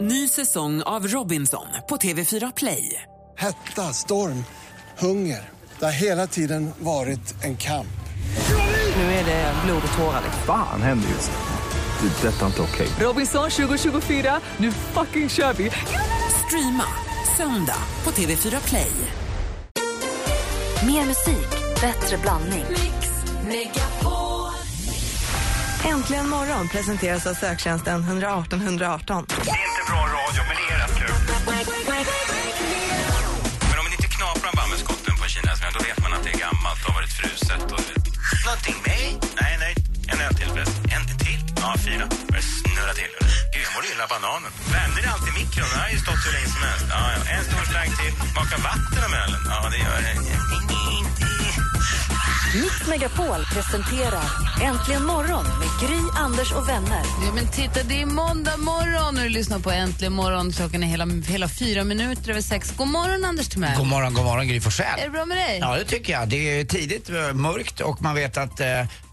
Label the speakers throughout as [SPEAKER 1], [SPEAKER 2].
[SPEAKER 1] Ny säsong av Robinson på TV4 Play.
[SPEAKER 2] Hetta, storm, hunger. Det har hela tiden varit en kamp.
[SPEAKER 1] Nu är det blod och tårar.
[SPEAKER 3] Fan händer just nu. Det. är Detta är inte okej.
[SPEAKER 1] Robinson 2024, nu fucking kör vi! Streama söndag på TV4 Play.
[SPEAKER 4] Mer musik, bättre blandning.
[SPEAKER 5] Äntligen morgon presenteras av söktjänsten 118 118.
[SPEAKER 6] Inte bra radio, men det är rätt kul. Men om ni inte knaprar bambuskotten på kinasnö, då vet man att det är gammalt och har varit fruset. Och... Någonting med? Nej, nej. En öl till förresten. En till? Ja, fyra. Börjar snurra till. Gud, jag mår illa av bananen. Vänder det alltid i mikron? Den har ju stått hur länge som helst. Ja, ja. En stor slang till. Smaka vatten om ölen? Ja, det gör det.
[SPEAKER 4] Mix Megapol presenterar Äntligen morgon med Gry, Anders och vänner.
[SPEAKER 7] Ja, men titta, det är måndag morgon och du lyssnar på Äntligen morgon. Klockan är hela, hela fyra minuter över sex. God morgon, Anders Timell.
[SPEAKER 8] God morgon, god morgon Gry Forssell.
[SPEAKER 7] Är det bra med dig?
[SPEAKER 8] Ja, det tycker jag. Det är tidigt, eh, mörkt och man vet att eh,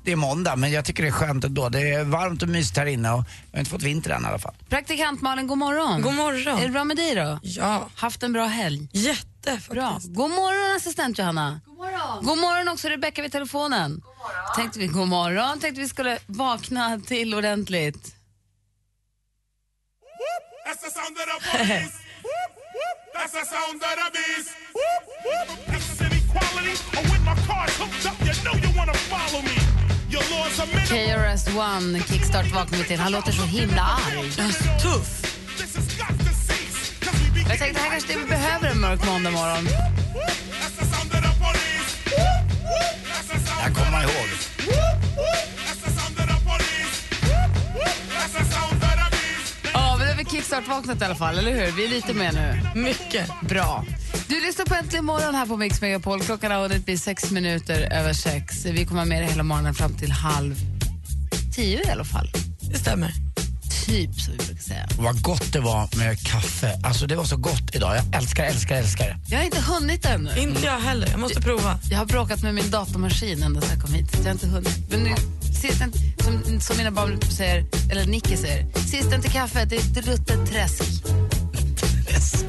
[SPEAKER 8] det är måndag men jag tycker det är skönt ändå. Det är varmt och mysigt här inne och jag har inte fått vinter än i alla fall.
[SPEAKER 7] Praktikant Malin, god morgon.
[SPEAKER 5] God morgon.
[SPEAKER 7] Är det bra med dig då?
[SPEAKER 5] Ja,
[SPEAKER 7] Haft en bra helg?
[SPEAKER 5] jätte faktiskt.
[SPEAKER 7] Bra. God morgon, assistent Johanna. God morgon. God morgon också, Rebecka vid telefonen. God morgon. Tänkte vi, god morgon. Tänkte vi skulle vakna till ordentligt. KRS One, Kickstart vaknar vi till. Han låter så himla arg.
[SPEAKER 5] Tuff.
[SPEAKER 7] Jag tänkte här kanske det vi behöver en mörk måndag morgon.
[SPEAKER 8] Det här kommer man ihåg.
[SPEAKER 7] Ja, men det är väl kickstart-vaknat i alla fall, eller hur? Vi är lite med nu.
[SPEAKER 5] Mycket.
[SPEAKER 7] Bra. Du lyssnar på Äntligen morgon här på Mix Megapol. Klockan har hunnit bli sex minuter över sex. Vi kommer ha med dig hela morgonen fram till halv tio i alla fall.
[SPEAKER 5] Det stämmer.
[SPEAKER 7] Typ, som vi brukar säga.
[SPEAKER 8] Och Vad gott det var med kaffe. Alltså det var så gott idag. Jag älskar, älskar, älskar det.
[SPEAKER 7] Jag har inte hunnit ännu.
[SPEAKER 5] Inte jag heller. Jag måste prova.
[SPEAKER 7] Jag har bråkat med min datamaskin ända sedan jag kom hit. så Jag har inte hunnit. Men nu, sist en, som, som mina barn säger, eller Nicky säger, sist inte kaffe, det är ett ruttet träsk.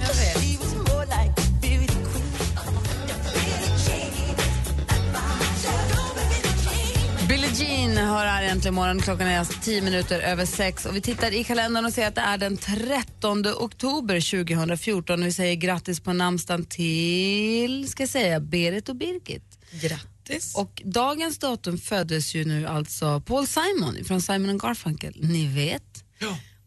[SPEAKER 7] Jag vet. Billie Jean hör här egentligen morgon. Klockan är alltså 10 minuter över sex och vi tittar i kalendern och ser att det är den 13 oktober 2014 och vi säger grattis på namnsdagen till, ska jag säga, Berit och Birgit.
[SPEAKER 5] Grattis. Och
[SPEAKER 7] Och dagens datum föddes ju nu alltså Paul Simon från Simon and Garfunkel, ni vet.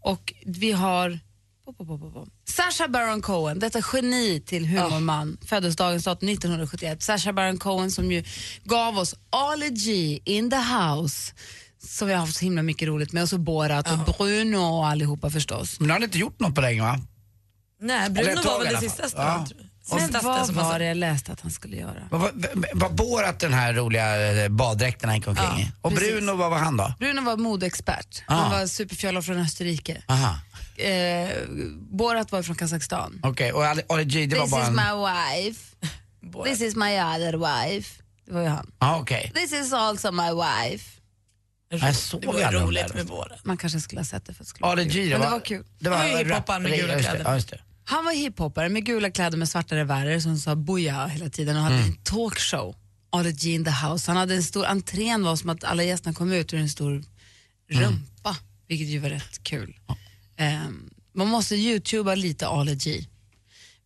[SPEAKER 7] Och vi har pop, pop, pop, pop, pop. Sacha Baron Cohen, detta geni till humorman, föddes dagens datum 1971. Sacha Baron Cohen som ju gav oss Ali G in the house som vi har haft så himla mycket roligt med och så Borat och Bruno och allihopa förstås.
[SPEAKER 8] Men du har inte gjort något på länge va?
[SPEAKER 5] nej,
[SPEAKER 8] Eller
[SPEAKER 5] Bruno
[SPEAKER 8] ett tag
[SPEAKER 5] var väl
[SPEAKER 8] i
[SPEAKER 5] det
[SPEAKER 8] alla
[SPEAKER 5] sista
[SPEAKER 8] fall.
[SPEAKER 5] stället.
[SPEAKER 8] Ja.
[SPEAKER 5] tror jag.
[SPEAKER 7] Men
[SPEAKER 5] Sista stället
[SPEAKER 7] vad
[SPEAKER 5] som han
[SPEAKER 7] var
[SPEAKER 5] sa.
[SPEAKER 7] det jag läste att han skulle göra?
[SPEAKER 8] Vad- vad- Var Borat den här roliga eh, baddräkten han gick omkring i? Och
[SPEAKER 7] precis.
[SPEAKER 8] Bruno, vad var han då?
[SPEAKER 7] Bruno var modeexpert, han
[SPEAKER 8] Ah.
[SPEAKER 7] var superfjolla från Österrike.
[SPEAKER 8] Aha,
[SPEAKER 7] eh, Borat var från Kazakstan.
[SPEAKER 8] okej. Och Ali- Ali G, det var
[SPEAKER 7] This
[SPEAKER 8] bara
[SPEAKER 7] is
[SPEAKER 8] en...
[SPEAKER 7] my wife.
[SPEAKER 5] Borat.
[SPEAKER 7] This is my other wife. Det var ju han.
[SPEAKER 8] Ja, okej.
[SPEAKER 7] This is also my wife.
[SPEAKER 8] Jag såg
[SPEAKER 5] Det var
[SPEAKER 8] aldrig de
[SPEAKER 5] roligt
[SPEAKER 8] där.
[SPEAKER 5] med båda.
[SPEAKER 7] Man kanske skulle ha sett det för att det skulle vara
[SPEAKER 8] Ali
[SPEAKER 7] kul.
[SPEAKER 8] G, det
[SPEAKER 7] Men
[SPEAKER 8] var...
[SPEAKER 7] det var kul.
[SPEAKER 8] Det var
[SPEAKER 5] Han var ju hiphoppan med
[SPEAKER 8] Ja,
[SPEAKER 5] gula
[SPEAKER 8] just det,
[SPEAKER 5] kläder.
[SPEAKER 8] Ja, just det.
[SPEAKER 7] Han var hiphoppare med gula kläder med svarta revärer som sa boja hela tiden och hade
[SPEAKER 5] Mm.
[SPEAKER 7] en talkshow. Ali G in the house. Han hade en stor, entrén var som att alla gästerna kom ut ur en stor
[SPEAKER 5] Mm.
[SPEAKER 7] rumpa, vilket ju var rätt kul. Ehm, man måste youtuba lite Ali G.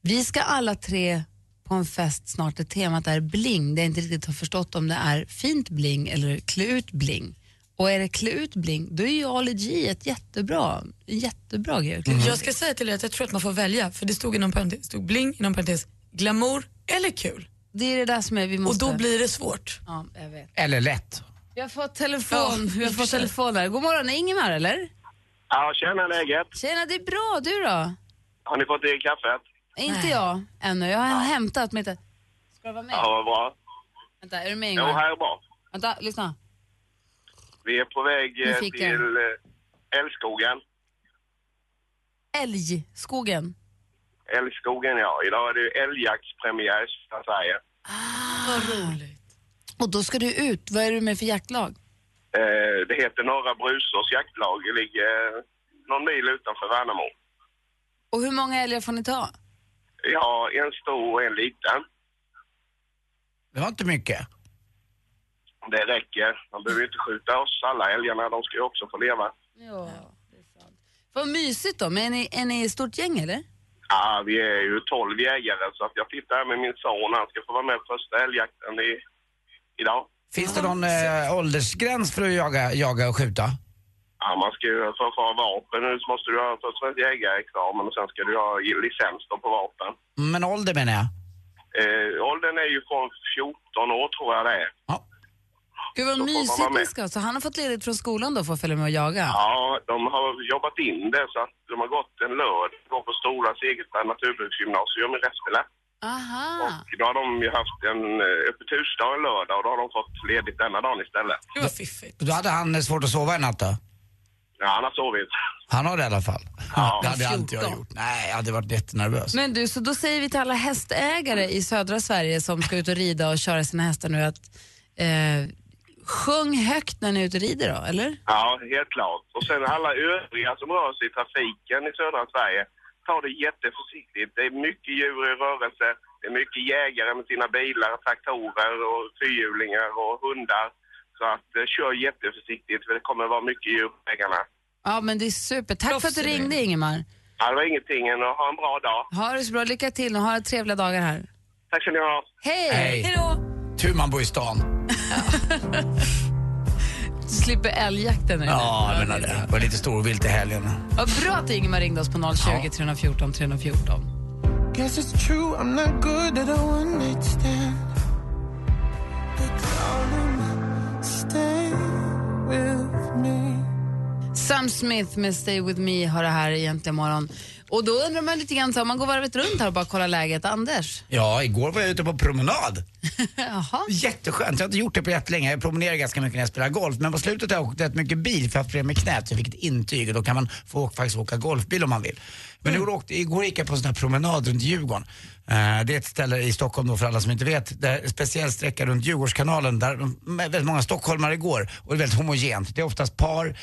[SPEAKER 7] Vi ska alla tre på en fest snart där temat är bling. Det jag inte riktigt har förstått om det är fint bling eller klä ut bling. Och är det klä ut bling, då är ju Ali G ett jättebra, jättebra grej. att klä ut
[SPEAKER 5] Jag ska säga till er att jag tror att man får välja, för det stod inom parentes, stod bling inom parentes, glamour eller kul.
[SPEAKER 7] Det är det där som är, vi
[SPEAKER 5] Och
[SPEAKER 7] måste...
[SPEAKER 5] då blir det svårt.
[SPEAKER 7] Ja, jag vet.
[SPEAKER 8] Eller lätt.
[SPEAKER 7] Vi har fått telefon.
[SPEAKER 5] Ja,
[SPEAKER 7] vi har fått
[SPEAKER 5] ursäkta.
[SPEAKER 7] telefon här. God morgon, är Ingemar eller?
[SPEAKER 9] Ja, tjena läget.
[SPEAKER 7] Tjena, det är bra. Du då?
[SPEAKER 9] Har ni fått i kaffet?
[SPEAKER 7] Inte jag ännu. Jag har hämtat men inte... Ska du vara med?
[SPEAKER 9] Ja, vad bra.
[SPEAKER 7] Vänta, är du med
[SPEAKER 9] Jo,
[SPEAKER 7] Ingemar?
[SPEAKER 9] här är bra.
[SPEAKER 7] Vänta, lyssna.
[SPEAKER 9] Vi är på väg eh,
[SPEAKER 7] Nyfiken.
[SPEAKER 9] till eh, Älgskogen.
[SPEAKER 7] Älgskogen.
[SPEAKER 9] Älgskogen, ja. Idag är det ju älgjaktspremiär i södra Sverige.
[SPEAKER 5] Vad roligt.
[SPEAKER 7] Och då ska du ut. Vad är du med för jaktlag?
[SPEAKER 9] Eh, det heter Norra Brusås jaktlag. Det ligger eh, någon mil utanför Värnamo.
[SPEAKER 7] Och hur många älgar får ni ta?
[SPEAKER 9] Ja, en stor och en liten.
[SPEAKER 8] Det var inte mycket.
[SPEAKER 9] Det räcker. Man behöver ju inte skjuta oss alla älgarna. De ska ju också få leva.
[SPEAKER 7] Ja, det är sant. Vad mysigt då, men är ni, är ni ett stort gäng eller?
[SPEAKER 9] Ja, vi är ju tolv jägare så att jag tittar här med min son. Han ska få vara med på första älgjakten i, idag.
[SPEAKER 8] Finns det någon eh, åldersgräns för att jaga, jaga och skjuta?
[SPEAKER 9] Ja, man ska ju för att få ha vapen nu så måste du ha först en jägarexamen och sen ska du ha licens då på vapen.
[SPEAKER 8] Men ålder menar jag.
[SPEAKER 9] Eh, åldern är ju från 14 år tror jag det är.
[SPEAKER 8] Ja.
[SPEAKER 7] Gud vad
[SPEAKER 9] Då får man
[SPEAKER 7] mysigt
[SPEAKER 9] vara
[SPEAKER 7] ni
[SPEAKER 9] med.
[SPEAKER 7] ska ha. Så han har fått ledigt från skolan då för att följa med och jaga?
[SPEAKER 9] Ja, de har jobbat in det så att de har gått en lördag går på Storas eget naturbruksgymnasium i Reftele.
[SPEAKER 7] Aha.
[SPEAKER 9] Och då har de ju haft en eh, öppet husdag en lördag och då har de fått ledigt denna dagen istället.
[SPEAKER 5] Gud vad fiffigt.
[SPEAKER 8] Då hade han eh, svårt att sova i natt då?
[SPEAKER 9] Ja, han har sovit.
[SPEAKER 8] Han har det i alla fall.
[SPEAKER 9] Ja.
[SPEAKER 8] Det hade jag inte jag gjort. Nej, jag hade varit jättenervös.
[SPEAKER 7] Men du, så då säger vi till alla hästägare i södra Sverige som ska ut och rida och köra sina hästar nu att eh, sjung högt när ni är ute och rider då, eller?
[SPEAKER 9] Ja, helt klart. Och sen alla övriga som rör sig i trafiken i södra Sverige, ta det jätteförsiktigt. Det är mycket djur i rörelse, det är mycket jägare med sina bilar, traktorer och fyrhjulingar och hundar. Så att eh, kör jätteförsiktigt för det kommer vara mycket djur på vägarna.
[SPEAKER 7] Ja, men det är super. Tack för att du
[SPEAKER 5] Proffsig
[SPEAKER 7] ringde Ingemar.
[SPEAKER 9] Ja, det var ingenting än att ha en bra dag.
[SPEAKER 7] Ha det så bra, lycka till och ha trevliga dagar här.
[SPEAKER 9] Tack ska ni ha.
[SPEAKER 7] Hej!
[SPEAKER 8] Hej.
[SPEAKER 7] då!
[SPEAKER 8] Tur man bor i stan.
[SPEAKER 7] Du slipper älgjakten nu.
[SPEAKER 8] Ja, jag menar det. Var lite storvilt i helgen.
[SPEAKER 7] Vad bra att Ingemar ringde oss på 020 314 314.
[SPEAKER 10] Guess it's true, I'm not good at all understand. But darling, stay with me.
[SPEAKER 7] Sam Smith med Stay With Me har det här egentligen imorgon. Och då undrar man lite grann, så här, om man går varvet runt här och bara kollar läget. Anders?
[SPEAKER 8] Ja, igår var jag ute på promenad.
[SPEAKER 7] Jaha.
[SPEAKER 8] Jätteskönt, jag har inte gjort det på jättelänge. Jag promenerar ganska mycket när jag spelar golf. Men på slutet har jag åkt rätt mycket bil för jag har haft problem med knät. Så jag fick ett intyg och då kan man få faktiskt åka golfbil om man vill. Men igår, åkte, igår gick jag på en sån här promenad runt Djurgården. Eh, det är ett ställe i Stockholm då för alla som inte vet. Där, en speciell sträcka runt Djurgårdskanalen där m- väldigt många stockholmare går. Och det är väldigt homogent. Det är oftast par. Eh,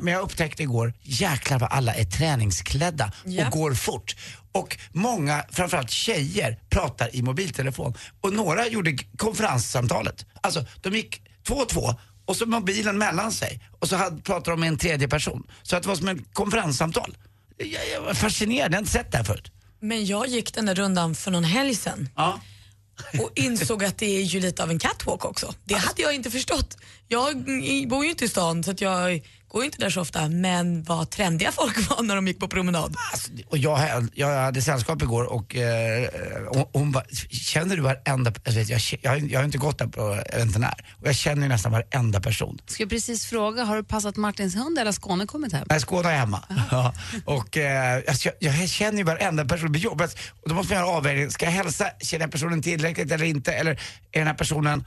[SPEAKER 8] men jag upptäckte igår, jäklar vad alla är träningsklädda
[SPEAKER 5] Ja.
[SPEAKER 8] och går fort. Och många, framförallt tjejer, pratar i mobiltelefon. Och några gjorde g- konferenssamtalet. Alltså, de gick två och två och så mobilen mellan sig. Och så hade, pratade de med en tredje person. Så att det var som ett konferenssamtal. Jag, jag var fascinerad, jag har inte sett det här förut.
[SPEAKER 5] Men jag gick den där rundan för någon helg sedan
[SPEAKER 8] Ja.
[SPEAKER 5] och insåg att det är ju lite av en catwalk också. Det hade jag inte förstått. Jag mm, bor ju inte i stan så att jag går ju inte där så ofta men vad trendiga folk var när de gick på promenad.
[SPEAKER 8] Alltså, och jag, hade- jag hade sällskap igår och eh, hon, hon bara, känner du varenda, jag, vet, jag, jag, har- jag har inte gått där på eventen här. Och jag känner ju nästan varenda person.
[SPEAKER 7] Ska jag precis fråga, har du passat Martins hund eller har Skåne kommit hem?
[SPEAKER 8] Nej, Skåne är hemma. Ja. Och, eh, alltså, jag, jag känner ju varenda person. Det blir jobbigt. Och då måste man göra avvägningen. Ska jag hälsa? Känner jag personen tillräckligt eller inte? Eller är den här personen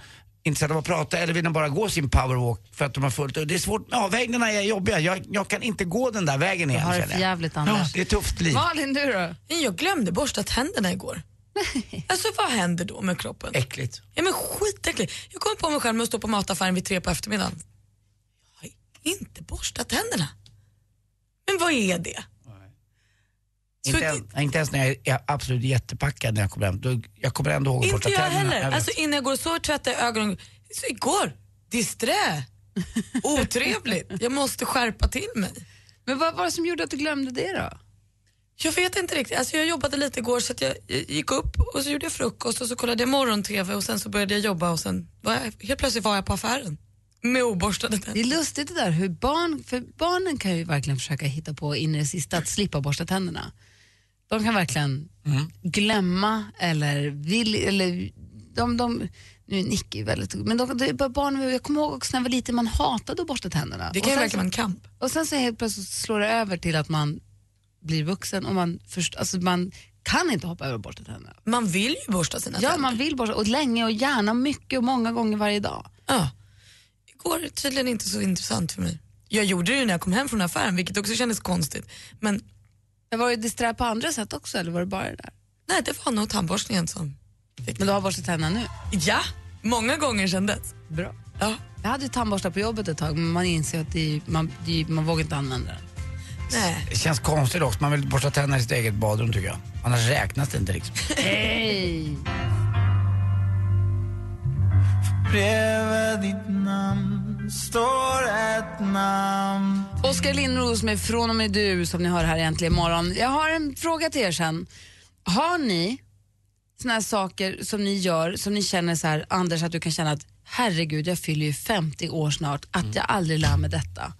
[SPEAKER 8] intresserad av att prata eller vill den bara gå sin powerwalk för att de har fullt upp? Det är svårt. Avvägningarna är jobbiga. Jag, jag kan inte gå den där vägen igen.
[SPEAKER 7] har det
[SPEAKER 8] känner
[SPEAKER 7] för jävligt,
[SPEAKER 8] Ja,
[SPEAKER 7] Anders.
[SPEAKER 8] det är ett tufft liv.
[SPEAKER 7] Malin, du då?
[SPEAKER 5] Men Jag glömde borsta tänderna igår. Alltså vad händer då med kroppen?
[SPEAKER 8] Äckligt.
[SPEAKER 5] Ja men skitäckligt. Jag kom på mig själv med att stå på mataffären vid tre på eftermiddagen. Jag har inte borstat tänderna. Men vad är det? Så
[SPEAKER 8] Inte,
[SPEAKER 5] det-
[SPEAKER 8] ens- inte ens när jag är- jag är absolut jättepackad när jag kommer hem. Då, jag kommer ändå ihåg att
[SPEAKER 5] Inte
[SPEAKER 8] borsta
[SPEAKER 5] jag
[SPEAKER 8] tänderna.
[SPEAKER 5] heller.
[SPEAKER 8] vet.
[SPEAKER 5] alltså innan jag går och sover tvättar jag ögonen. Så igår, disträ. Otrevligt. Jag måste skärpa till mig.
[SPEAKER 7] Men vad var det som gjorde att du glömde det då?
[SPEAKER 5] Jag vet inte riktigt. Alltså jag jobbade lite igår så att jag jag gick upp och så gjorde jag frukost och så kollade jag morgon-tv och sen så började jag jobba och sen var jag, helt plötsligt var jag på affären med oborstade
[SPEAKER 7] Det
[SPEAKER 5] tänder.
[SPEAKER 7] är lustigt det där, hur barn, för barnen kan ju verkligen försöka hitta på in i det sista att slippa borsta tänderna. De kan verkligen
[SPEAKER 5] Mm.
[SPEAKER 7] glömma eller vill, eller de, de nu är Nicky väldigt, men de, det är bara barn, jag kommer ihåg också när jag var liten, man hatade att borsta tänderna.
[SPEAKER 5] Det
[SPEAKER 7] Och
[SPEAKER 5] kan ju
[SPEAKER 7] sen
[SPEAKER 5] verkligen vara en kamp.
[SPEAKER 7] Och sen så helt plötsligt slår det över till att man blir vuxen och man, först, alltså man kan inte hoppa över och borsta tänderna.
[SPEAKER 5] Man vill ju borsta sina
[SPEAKER 7] Ja,
[SPEAKER 5] tänder.
[SPEAKER 7] man vill borsta, och länge och gärna mycket och många gånger varje dag.
[SPEAKER 5] Ja. Igår är tydligen inte så intressant för mig. Jag gjorde det ju när jag kom hem från affären vilket också kändes konstigt. Men
[SPEAKER 7] Men var det disträ på andra sätt också eller var det bara det där?
[SPEAKER 5] nej, det var nog tandborstningen som...
[SPEAKER 7] Men du har borstat tänderna nu?
[SPEAKER 5] Ja, många gånger sedan dess.
[SPEAKER 7] Bra.
[SPEAKER 5] Ja.
[SPEAKER 7] Jag hade ju tandborstar på jobbet ett tag men man inser att det är, man, det är, man vågar inte använda den.
[SPEAKER 5] Nej.
[SPEAKER 8] Det känns konstigt också. Man vill borsta tänderna i sitt eget badrum tycker jag. Annars räknas det inte liksom.
[SPEAKER 7] Hej!
[SPEAKER 11] Bredvid ditt namn står ett namn
[SPEAKER 7] Oskar Lindros med Från och med du som ni hör här egentligen imorgon. Jag har en fråga till er sen. Har ni såna här saker som ni gör som ni känner så här, Anders att du kan känna att herregud jag fyller ju 50 år snart, att jag aldrig lär mig detta.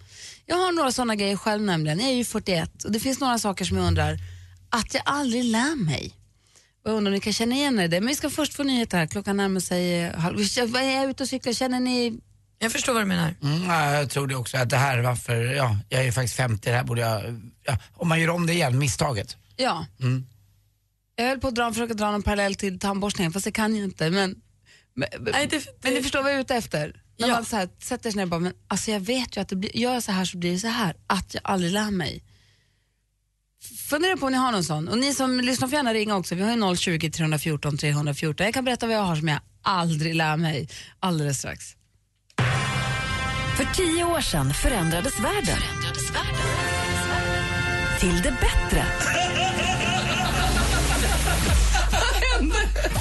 [SPEAKER 7] Jag har några såna grejer själv nämligen, jag är ju 41 och det finns några saker som jag undrar att jag aldrig lär mig. Och jag undrar om ni kan känna igen er i det. Men vi ska först få nyheter här, klockan närmar sig eh, halv... Vad Är jag ute och cyklar? Känner ni
[SPEAKER 5] Jag förstår vad du menar.
[SPEAKER 8] Mm, ja, jag tror det också att det här, varför, ja, jag är ju faktiskt 50, det här borde jag, ja, om man gör om det igen, misstaget.
[SPEAKER 7] Ja.
[SPEAKER 5] Mm.
[SPEAKER 7] Jag höll på att dra, försöka dra någon parallell till tandborstningen, fast det kan jag inte. Men, men,
[SPEAKER 5] Nej, det,
[SPEAKER 7] men ni förstår vad jag är ute efter? När
[SPEAKER 5] Ja.
[SPEAKER 7] man så här, sätter sig ner och bara, men alltså jag vet ju att det blir, gör jag så här så blir det så här, att jag aldrig lär mig. F- Fundera på om ni har någon sån. Och ni som lyssnar får gärna ringa också. Vi har ju 020 314 314. Jag kan berätta vad jag har som jag aldrig lär mig alldeles strax.
[SPEAKER 4] För tio år sedan förändrades världen. Till det bättre.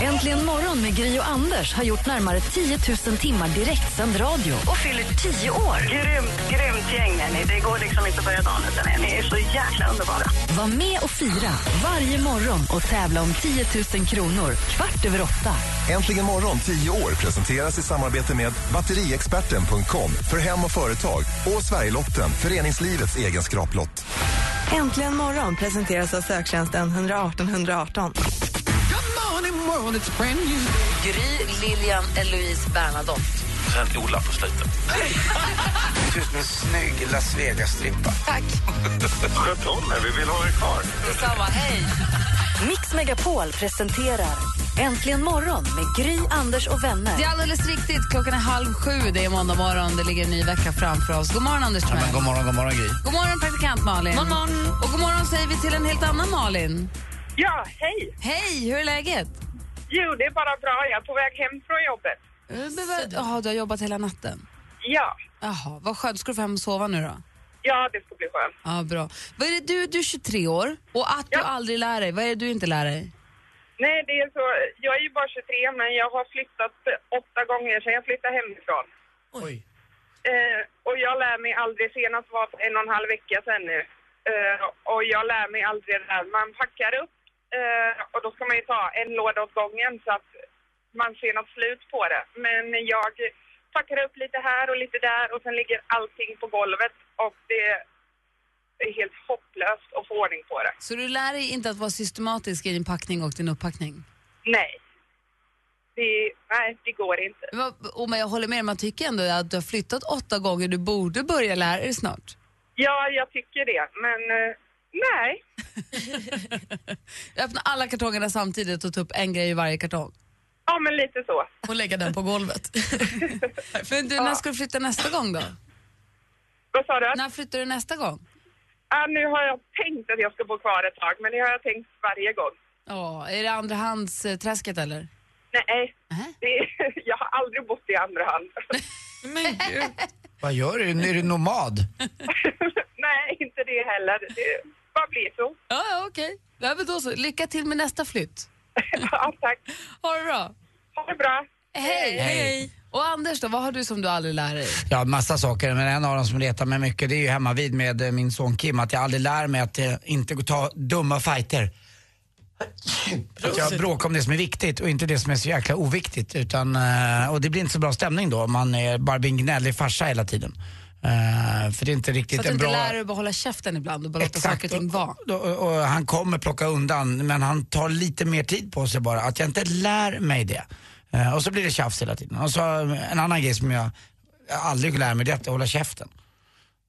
[SPEAKER 4] Äntligen morgon med Gry och Anders har gjort närmare 10 000 timmar direktsänd radio och fyller 10 år.
[SPEAKER 9] Grymt, grymt gäng är ni. Det går liksom inte att börja dagen utan er. Ni är så jäkla underbara.
[SPEAKER 4] Var med och fira varje morgon och tävla om 10 000 kronor kvart över åtta.
[SPEAKER 12] Äntligen morgon 10 år presenteras i samarbete med batteriexperten.com för hem och företag och Sverigelotten, föreningslivets egen skraplott.
[SPEAKER 9] Äntligen morgon presenteras av söktjänsten 118 118.
[SPEAKER 7] Gry, Lilian, Eloise, Bernadotte.
[SPEAKER 13] Sen Ola på slutet.
[SPEAKER 8] Det ser ut som en snygg Las Vegas-strippa.
[SPEAKER 14] Sköt om er, vi vill ha er kvar.
[SPEAKER 7] Detsamma, hej!
[SPEAKER 4] Mix Megapol presenterar Äntligen morgon med Gry, Anders och vänner.
[SPEAKER 7] Det är alldeles riktigt. Klockan är halv sju. Det är måndag morgon. Det ligger en ny vecka framför oss. God morgon, Anders Timell.
[SPEAKER 8] Men god morgon, god morgon Gry.
[SPEAKER 7] God morgon, praktikant Malin. God morgon. Och god morgon säger vi till en helt annan Malin.
[SPEAKER 9] Ja, hej!
[SPEAKER 7] Hej, hur är läget?
[SPEAKER 9] Jo, det är bara bra. Jag är på väg hem från jobbet.
[SPEAKER 7] Jaha, du har jobbat hela natten.
[SPEAKER 9] Ja,
[SPEAKER 7] Jaha, vad skönt. Ska du få hem och sova nu då?
[SPEAKER 9] ja det ska bli skönt.
[SPEAKER 7] Ja, bra. Vad är det du, du är 23 år och att
[SPEAKER 9] Ja.
[SPEAKER 7] du aldrig lär dig, vad är det du inte lär dig?
[SPEAKER 9] Nej, det är så. Jag är ju bara 23, men jag har flyttat åtta gånger sedan jag flyttade hemifrån.
[SPEAKER 8] Oj.
[SPEAKER 9] Eh, och jag lär mig aldrig, senast var för en och en halv vecka sedan nu. Eh, och jag lär mig aldrig det här. Man packar upp eh, och då ska man ju ta en låda åt gången så att man ser något slut på det. Men jag packar upp lite här och lite där och sen ligger allting på golvet och det är helt hopplöst att få ordning på det.
[SPEAKER 7] Så du lär dig inte att vara systematisk i din packning och din upppackning?
[SPEAKER 9] Nej. Det, nej, det går inte.
[SPEAKER 7] Men vad- Och men jag håller med dig, man tycker ändå att du har flyttat åtta gånger, du borde börja lära dig snart.
[SPEAKER 9] Ja, jag tycker det, men eh, nej.
[SPEAKER 7] Öppna alla kartongerna samtidigt och ta upp en grej i varje kartong.
[SPEAKER 9] Ja, men lite så.
[SPEAKER 5] och lägga den på golvet.
[SPEAKER 7] Men du, när ska du flytta nästa gång då?
[SPEAKER 9] Vad sa du?
[SPEAKER 7] När flyttar du nästa gång?
[SPEAKER 9] Ja, nu har jag tänkt att jag ska bo kvar ett tag, men det har jag tänkt varje gång.
[SPEAKER 7] Ja, är det andrahandsträsket eller?
[SPEAKER 9] Nej,
[SPEAKER 7] Nähä.
[SPEAKER 9] det, jag har aldrig bott i andra hand.
[SPEAKER 5] Men gud.
[SPEAKER 8] Vad gör du? Är du nomad?
[SPEAKER 9] Nej, inte det heller. Det bara blir så.
[SPEAKER 7] Ja, ja okej. Ja, men då så. Lycka till med nästa flytt.
[SPEAKER 9] ja, tack.
[SPEAKER 7] Ha det bra.
[SPEAKER 9] Ha det bra.
[SPEAKER 7] Hej!
[SPEAKER 8] Hej.
[SPEAKER 7] Och Anders då, vad har du som du aldrig lär dig?
[SPEAKER 8] Ja, massa saker. Men en av dem som retar mig mycket det är ju hemma vid med eh, min son Kim. Att jag aldrig lär mig att eh, inte gå ta dumma fighter. Att jag bråkar om det som är viktigt och inte det som är så jäkla oviktigt. Utan, eh, och det blir inte så bra stämning då om man är bara blir en gnällig farsa hela tiden. Eh, För det är inte riktigt
[SPEAKER 7] Så att du
[SPEAKER 8] en
[SPEAKER 7] inte
[SPEAKER 8] bra...
[SPEAKER 7] lär dig att bara hålla käften ibland och bara låta saker och ting vara.
[SPEAKER 8] Och, och, och han kommer plocka undan men han tar lite mer tid på sig bara. Att jag inte lär mig det. Eh, och så blir det tjafs hela tiden. Och så eh, en annan grej som jag aldrig lär mig det är att hålla käften.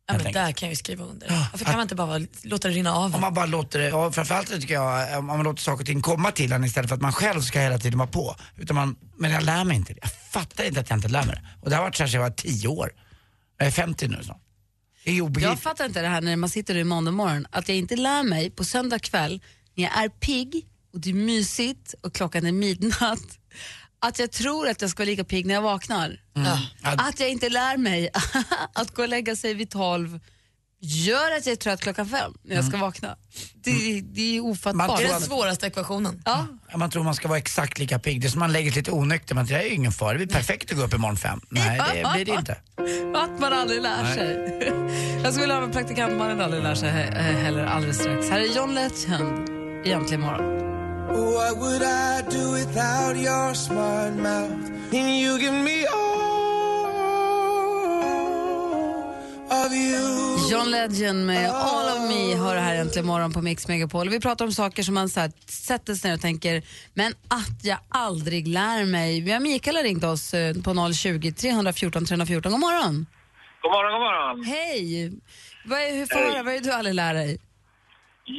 [SPEAKER 5] Ja,
[SPEAKER 8] Helt
[SPEAKER 5] men där kan jag ju skriva under. Varför kan man inte bara vara- låta det rinna
[SPEAKER 8] Om
[SPEAKER 5] av?
[SPEAKER 8] man bara låter det, ja, framförallt tycker jag om man låter saker och ting komma till en istället för att man själv ska hela tiden vara på. Utan man, men jag lär mig inte det. Jag fattar inte att jag inte lär mig det. Och det har varit så här sedan jag var tio år. Jag är 50 nu snart. Det är ju
[SPEAKER 7] Jag
[SPEAKER 8] obegripligt.
[SPEAKER 7] fattar inte det här när man sitter i måndag morgon, att jag inte lär mig på söndag kväll när jag är pigg och det är mysigt och klockan är midnatt, att jag tror att jag ska vara lika pigg när jag vaknar.
[SPEAKER 8] Mm. Ja,
[SPEAKER 7] Att jag inte lär mig att gå och lägga sig vid tolv, gör att jag är trött klockan fem när jag
[SPEAKER 8] Mm.
[SPEAKER 7] ska vakna. Det, det är
[SPEAKER 8] Man tror
[SPEAKER 7] ofattbart.
[SPEAKER 8] Det är den att-
[SPEAKER 7] svåraste ekvationen. Ja.
[SPEAKER 8] Ja, Man tror man ska vara exakt lika pigg. Det är som man lägger sig lite onykter. Man tror det är ingen fara, det blir perfekt att gå upp imorgon fem. Nej, det blir det inte.
[SPEAKER 7] Att man aldrig lär
[SPEAKER 8] Nej.
[SPEAKER 7] sig. Jag skulle vilja ha en praktikant man aldrig lär sig he- he- heller alldeles strax. Här är John Legend i Äntligen morgon.
[SPEAKER 2] What would I do without your smart mouth? And you give me all of you.
[SPEAKER 7] John Legend med All of me hör här Äntligen morgon på Mix Megapol. Vi pratar om saker som man så här, sätter sig ner och tänker, men att jag aldrig lär mig. Vi har Mikael har ringt oss eh, på 020 314 314. God morgon.
[SPEAKER 9] God morgon, god morgon.
[SPEAKER 7] Hej! Vad är, hur får jag höra, vad är det du aldrig lär dig?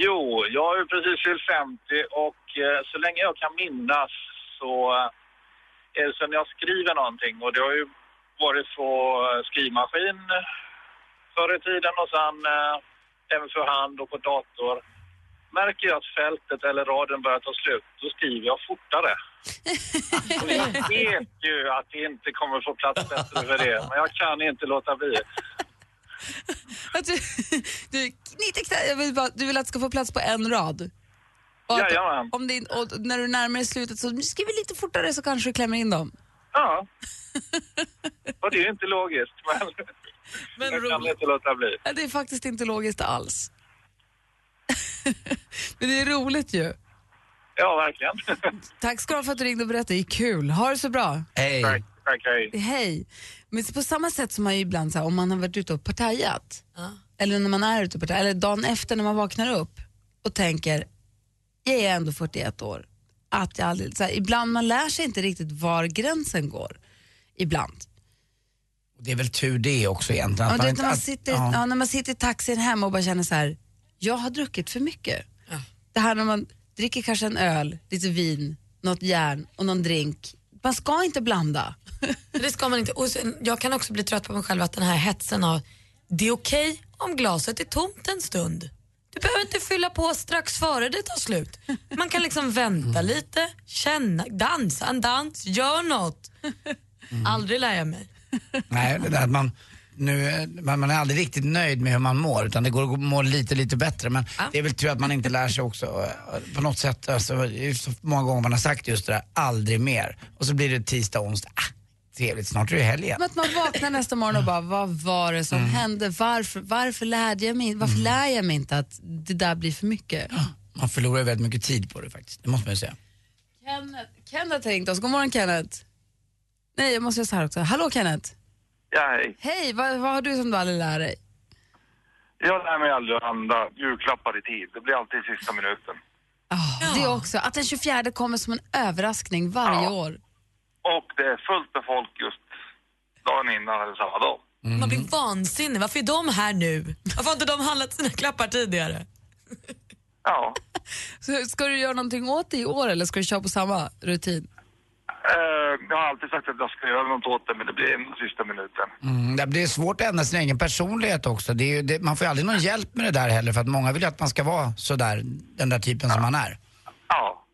[SPEAKER 9] Jo, jag är ju precis fyllt 50 och eh, så länge jag kan minnas så eh, är det som när jag skriver någonting och det har ju varit på eh, skrivmaskin förr i tiden och sen eh, även för hand och på dator. Märker jag att fältet eller raden börjar ta slut, då skriver jag fortare. Och jag vet ju att det inte kommer få plats bättre för det, men jag kan inte låta bli.
[SPEAKER 7] Att du, du, knit exakt, jag vill bara, du vill att det ska få plats på en rad? Och att,
[SPEAKER 9] Jajamän.
[SPEAKER 7] om det, och när du närmar dig slutet så skriver lite fortare så kanske du klämmer in dem.
[SPEAKER 9] Ja. Och det är ju inte logiskt, men, jag kan inte låta bli.
[SPEAKER 7] Ja, Det är faktiskt inte logiskt alls. Men det är roligt ju.
[SPEAKER 9] Ja, verkligen.
[SPEAKER 7] Tack ska du ha för att du ringde och berättade, det är kul. Ha det så bra.
[SPEAKER 8] Hej.
[SPEAKER 9] Tack, tack, hej.
[SPEAKER 7] Hej. Men på samma sätt som man ju ibland så här, om man har varit ute och partajat, eller när man är ute och partajat, eller dagen efter när man vaknar upp och tänker, jag är ändå 41 år. Att jag aldrig, så här, ibland man lär sig inte riktigt var gränsen går. Ibland.
[SPEAKER 8] Och Det är väl tur det också egentligen.
[SPEAKER 7] Ja,
[SPEAKER 8] att
[SPEAKER 7] du vet,
[SPEAKER 8] inte-
[SPEAKER 7] när, man
[SPEAKER 8] att-
[SPEAKER 7] sitter,
[SPEAKER 8] ja.
[SPEAKER 7] ja, när man sitter i taxin hemma och bara känner så här, jag har druckit för mycket. Det här när man dricker kanske en öl, lite vin, något järn och någon drink. Man ska inte blanda.
[SPEAKER 5] Det ska man inte. Och sen, jag kan också bli trött på mig själv att den här hetsen av det är okej om glaset är tomt en stund. Du behöver inte fylla på strax före det tar slut. Man kan liksom vänta lite, känna, dansa en dans, gör något. Aldrig lär jag mig.
[SPEAKER 8] Nej, det där att man, nu, eh, man, man är aldrig riktigt nöjd med hur man mår utan det går att må lite, lite bättre. Men det är väl tur att man inte lär sig också eh, på något sätt. Alltså, det är ju så många gånger man har sagt just det där, aldrig mer. Och så blir det tisdag, onsdag. Ah, trevligt, snart är det helg igen.
[SPEAKER 7] Men att man vaknar nästa morgon och bara, vad var det som
[SPEAKER 8] Mm.
[SPEAKER 7] hände? Varför, varför, lärde jag mig, varför lär jag mig inte att det där blir för mycket?
[SPEAKER 8] Man förlorar ju väldigt mycket tid på det faktiskt, det måste man ju säga.
[SPEAKER 7] Kenneth, Kenneth har ringt oss. God morgon Kenneth. Nej, jag måste göra så här också. Hallå Kenneth.
[SPEAKER 9] Ja, hej.
[SPEAKER 7] Hej, vad, vad har du som du aldrig lär dig?
[SPEAKER 9] Jag lär mig aldrig att handla julklappar i tid. Det blir alltid i sista minuten.
[SPEAKER 7] Ah, Det också, att den 24 kommer som en överraskning varje år.
[SPEAKER 9] Och det är fullt med folk just dagen innan eller samma dag.
[SPEAKER 5] Man blir vansinnig. Varför är de här nu? Varför har inte de handlat sina klappar tidigare?
[SPEAKER 9] Ja.
[SPEAKER 7] Så ska du göra någonting åt det i år eller ska du köra på samma rutin?
[SPEAKER 9] Eh, jag har alltid sagt att jag ska göra något åt det, men det blir i sista minuten.
[SPEAKER 8] Mm, det blir svårt att ändra sin egen personlighet också. Det är ju, det, man får ju aldrig någon hjälp med det där heller för att många vill ju att man ska vara sådär, den där typen som man är.
[SPEAKER 9] Ja.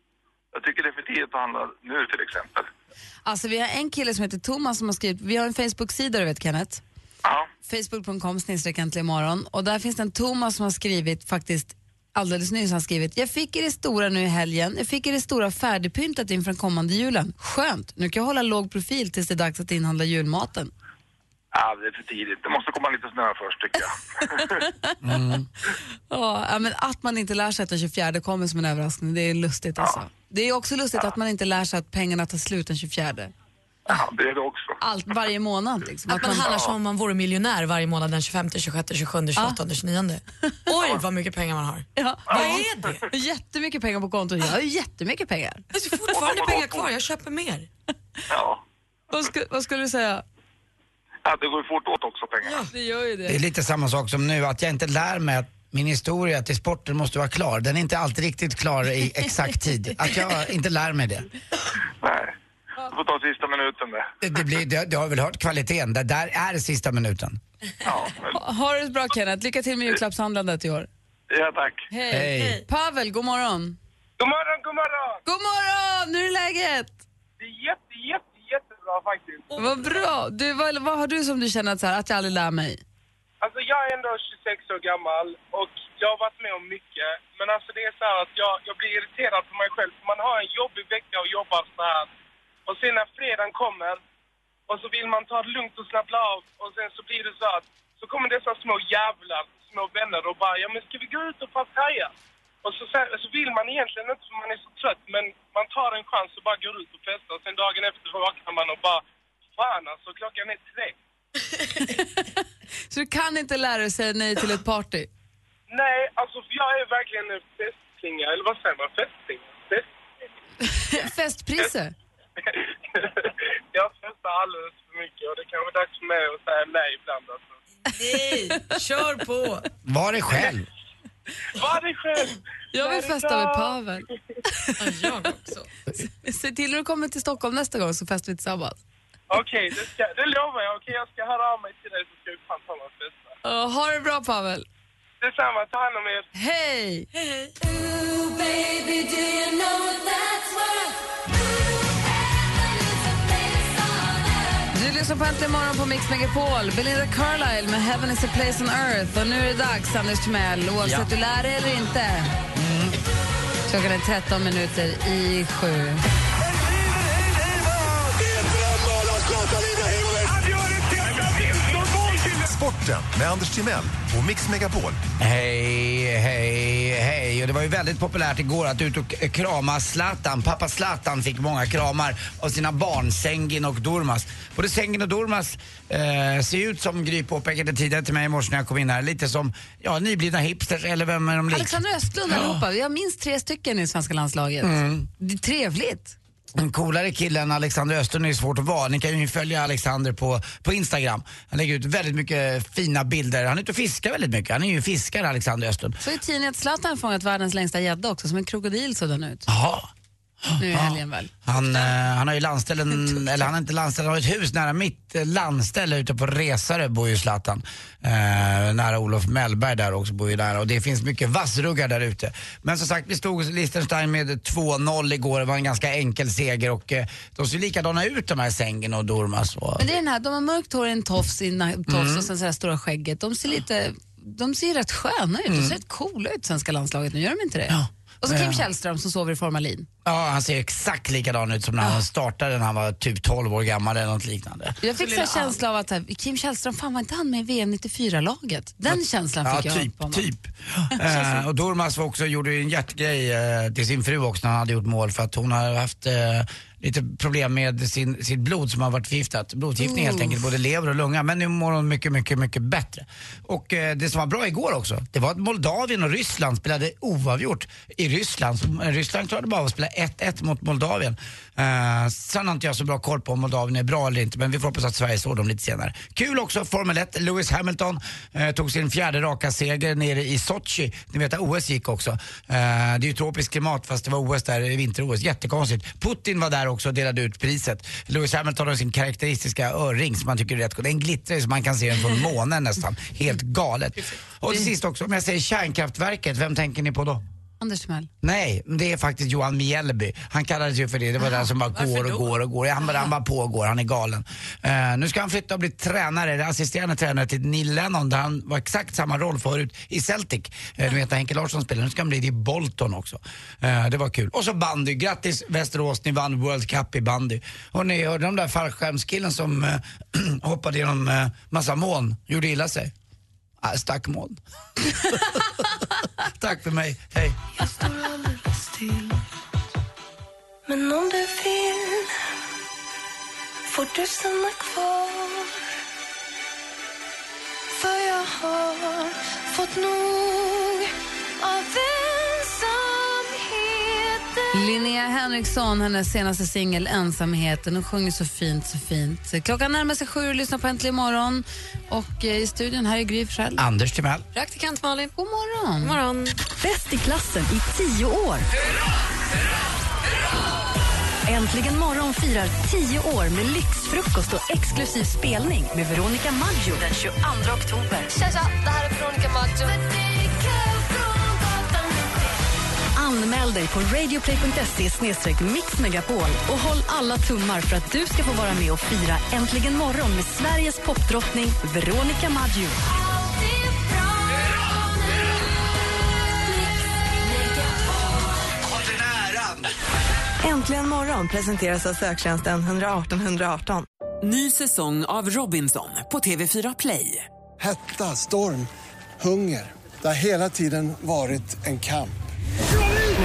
[SPEAKER 9] Jag tycker det är för tidigt att handla nu till exempel.
[SPEAKER 7] Alltså vi har en kille som heter Thomas som har skrivit, vi har en Facebook-sida du vet Kenneth?
[SPEAKER 9] Ja.
[SPEAKER 7] Facebook.com snedstreck äntligen morgon och där finns det en Thomas som har skrivit faktiskt alldeles nyss har han skrivit Jag fick i det stora nu i helgen, jag fick i det stora färdigpyntat inför den kommande julen. Skönt, nu kan jag hålla låg profil tills det är dags att inhandla julmaten.
[SPEAKER 9] Ja, det är för tidigt. Det måste komma lite snö först tycker jag.
[SPEAKER 7] Ja, ja, men att man inte lär sig att den 24 kommer som en överraskning, det är lustigt alltså. Det är också lustigt att man inte lär sig att pengarna tar slut den 24.
[SPEAKER 9] Ja, det är det också.
[SPEAKER 7] Allt, varje månad liksom.
[SPEAKER 5] Att man handlar som om man vore miljonär varje månad den 25, 26, 27, 28, 29. Oj, vad mycket pengar man har.
[SPEAKER 7] Ja.
[SPEAKER 5] Vad är
[SPEAKER 7] det? Jättemycket pengar på kontot. Jag har ju jättemycket pengar.
[SPEAKER 5] Jag har fortfarande pengar kvar, jag köper mer.
[SPEAKER 7] Vad, sku, vad skulle du säga?
[SPEAKER 9] Ja, det går ju fort åt också pengarna.
[SPEAKER 7] Det gör ju
[SPEAKER 8] Det är lite samma sak som nu, att jag inte lär mig att min historia till sporten måste vara klar. Den är inte alltid riktigt klar i exakt tid. Att jag inte lär mig det.
[SPEAKER 9] Nej. Du får ta sista minuten det.
[SPEAKER 8] Det, det, blir, det, det har väl hört kvaliteten. Det där är sista minuten.
[SPEAKER 7] Ha, ha det bra Kenneth, lycka till med julklappshandlandet i år.
[SPEAKER 9] Ja, tack.
[SPEAKER 7] Hej.
[SPEAKER 8] Hej. Hej.
[SPEAKER 7] Pavel, god morgon.
[SPEAKER 15] God morgon, god morgon!
[SPEAKER 7] God morgon, hur är läget?
[SPEAKER 15] Det är jätte, jätte, jättebra faktiskt.
[SPEAKER 7] Vad bra. Du, vad, vad har du som du känner att, så här, att jag aldrig lär mig?
[SPEAKER 9] Alltså jag är ändå 26 år gammal och jag har varit med om mycket. Men alltså det är så här att jag, jag blir irriterad på mig själv. För man har en jobbig vecka och jobbar så här. Och sen när fredagen kommer och så vill man ta det lugnt och slappna av. Och sen så blir det så att så kommer dessa små jävlar, små vänner och bara ja men ska vi gå ut och partaja? Och så, så- så vill man egentligen inte för man är så trött men man tar en chans och bara går ut och festar. Och sen dagen efter vaknar man och bara fan alltså klockan är tre.
[SPEAKER 7] Så du kan inte lära dig säga nej till ett party?
[SPEAKER 9] Nej, alltså för jag är verkligen en fästinga, eller vad säger man? Fästing? Fäst-
[SPEAKER 7] Festpriser?
[SPEAKER 9] jag festar alldeles för mycket och det kanske är dags för mig att säga nej ibland alltså.
[SPEAKER 5] Nej, kör på!
[SPEAKER 8] Var det själv?
[SPEAKER 9] Var det själv?
[SPEAKER 7] Jag vill
[SPEAKER 9] Var det
[SPEAKER 7] festa med
[SPEAKER 9] jag?
[SPEAKER 7] Pavel.
[SPEAKER 5] Jag också.
[SPEAKER 7] Se till när du kommer till Stockholm nästa gång så festar vi tillsammans.
[SPEAKER 9] Okej, det, ska, det lovar jag. Okej, jag ska höra av mig till dig så ska vi fan ta någon fest.
[SPEAKER 7] Uh, ha det bra Pavel.
[SPEAKER 9] Detsamma, ta hand om er.
[SPEAKER 7] Hej! Du lyssnar på Äntligen morgon på Mix Megapol. Belinda Carlisle med Heaven is a place on earth. Och nu är det dags, Anders Timell, oavsett
[SPEAKER 16] Ja.
[SPEAKER 7] du lär dig eller inte. Klockan är 13 minuter i sju.
[SPEAKER 12] Sporten med Anders Timell och Mix Megapol.
[SPEAKER 8] Hej, hej, hej. Och det var ju väldigt populärt igår att ut och krama Zlatan. Pappa Zlatan fick många kramar av sina barn Sengin och Durmaz. Både Sengin och Durmaz eh, ser ju ut som Gry påpekade tidigare till mig i morse när jag kom in här. Lite som ja, nyblivna hipsters eller vem är de lik?
[SPEAKER 7] Alexander Östlund allihopa. Vi har minst tre stycken i svenska landslaget.
[SPEAKER 8] Mm.
[SPEAKER 7] Det är trevligt.
[SPEAKER 8] En coolare kille än Alexander Östlund är ju svårt att vara. Ni kan ju följa Alexander på, på Instagram. Han lägger ut väldigt mycket fina bilder. Han är ute och fiskar väldigt mycket. Han är ju fiskare, Alexander Östlund.
[SPEAKER 7] Så i tidningen att Zlatan fångat världens längsta gädda också, som en krokodil såg den ut.
[SPEAKER 8] Jaha.
[SPEAKER 7] Nu i helgen väl.
[SPEAKER 8] Han, eh, han har ju landställt, en, eller han har inte landställt, han har ett hus nära mitt eh, landställe ute på Resare bor ju Zlatan. Eh, nära Olof Mellberg där också bor ju där och det finns mycket vassruggar där ute. Men som sagt, vi stod Liechtenstein med 2-0 igår, det var en ganska enkel seger och eh, de ser likadana ut de här Sängen och Durmaz. Och,
[SPEAKER 7] Men det är den här, de har mörkt hår, en tofs, i na- tofs
[SPEAKER 8] Mm.
[SPEAKER 7] och sen så här stora skägget. De ser lite, de ser rätt sköna ut, de ser rätt coola ut svenska landslaget nu, gör de inte det? Och så Kim
[SPEAKER 8] Mm. Ja.
[SPEAKER 7] Källström som sover i formalin.
[SPEAKER 8] Ja, han ser exakt likadan ut som när han startade när han var typ 12 år gammal eller något liknande.
[SPEAKER 7] Jag fick så här känsla av att så här, Kim Källström, fan var inte han med i VM 94-laget? Den känslan fick
[SPEAKER 8] ja,
[SPEAKER 7] jag.
[SPEAKER 8] typ,
[SPEAKER 7] på honom.
[SPEAKER 8] typ. Eh, och Dormas var också, gjorde ju en hjärtgrej eh, till sin fru också när han hade gjort mål för att hon har haft eh, lite problem med sin, sitt blod som har varit förgiftat. Blodförgiftning helt
[SPEAKER 17] Oof.
[SPEAKER 8] enkelt, både lever och lunga. Men nu mår hon mycket, mycket, mycket bättre. Och eh, det som var bra igår också, det var att Moldavien och Ryssland spelade oavgjort i Ryssland. Så, eh, Ryssland klarade bara av att spela 1-1 mot Moldavien. Eh, sen har inte jag så bra koll på om Moldavien är bra eller inte, men vi får hoppas att Sverige slår dem lite senare. Kul också, Formel 1. Lewis Hamilton eh, tog sin fjärde raka seger nere i Sochi. Ni vet att OS gick också. Eh, det är ju tropiskt klimat fast det var OS där, vinter-OS. Jättekonstigt. Putin var där också och delade ut priset. Lewis Hamilton har sin karaktäristiska örring som man tycker är rätt cool. Den glittrar ju så man kan se den från månen nästan. Helt galet. Och till sist också, om jag säger kärnkraftverket, vem tänker ni på då?
[SPEAKER 7] Anders Timell.
[SPEAKER 8] Nej, men det är faktiskt Johan Mjällby. Han kallades ju för det. Det var den som bara går och går och går. Han bara, han bara pågår, han är galen. Eh, nu ska han flytta och bli tränare, eller assisterande tränare till Neil Lennon där han var exakt samma roll förut i Celtic. Uh, du vet när Henke Larsson spelade. Nu ska han bli det i Bolton också. Eh, det var kul. Och så bandy. Grattis Västerås, ni vann World Cup i bandy. Och ni hörde om den där fallskärmskillen som eh, hoppade genom uh, massa moln, gjorde illa sig. Uh, stack moln. Tack för mig, hej.
[SPEAKER 16] Jag står alldeles still Men om du vill får du stanna kvar För jag har fått nog av ensamheten
[SPEAKER 7] Linnea Henriksson, hennes senaste singel Ensamheten. Hon sjunger så fint, så fint. Klockan närmar sig sju, lyssna på Äntligen morgon. Och eh, i studion här är Gry Forssell.
[SPEAKER 8] Anders Timell.
[SPEAKER 7] Praktikant Malin. God morgon. God
[SPEAKER 5] morgon.
[SPEAKER 4] Bäst i klassen i tio år. Äntligen morgon firar tio år med lyxfrukost och exklusiv spelning med Veronica Maggio den 22 oktober.
[SPEAKER 16] Tja, tja, det här är Veronica Maggio
[SPEAKER 4] Anmäl dig på radioplay.se mixmegapol och håll alla tummar för att du ska få vara med och fira Äntligen morgon med Sveriges popdrottning Veronica Maggio. Äntligen morgon presenteras av söktjänsten 118 118.
[SPEAKER 1] Ny säsong av Robinson på TV4 Play.
[SPEAKER 2] Hetta, storm, hunger. Det har hela tiden varit en kamp.
[SPEAKER 1] Nu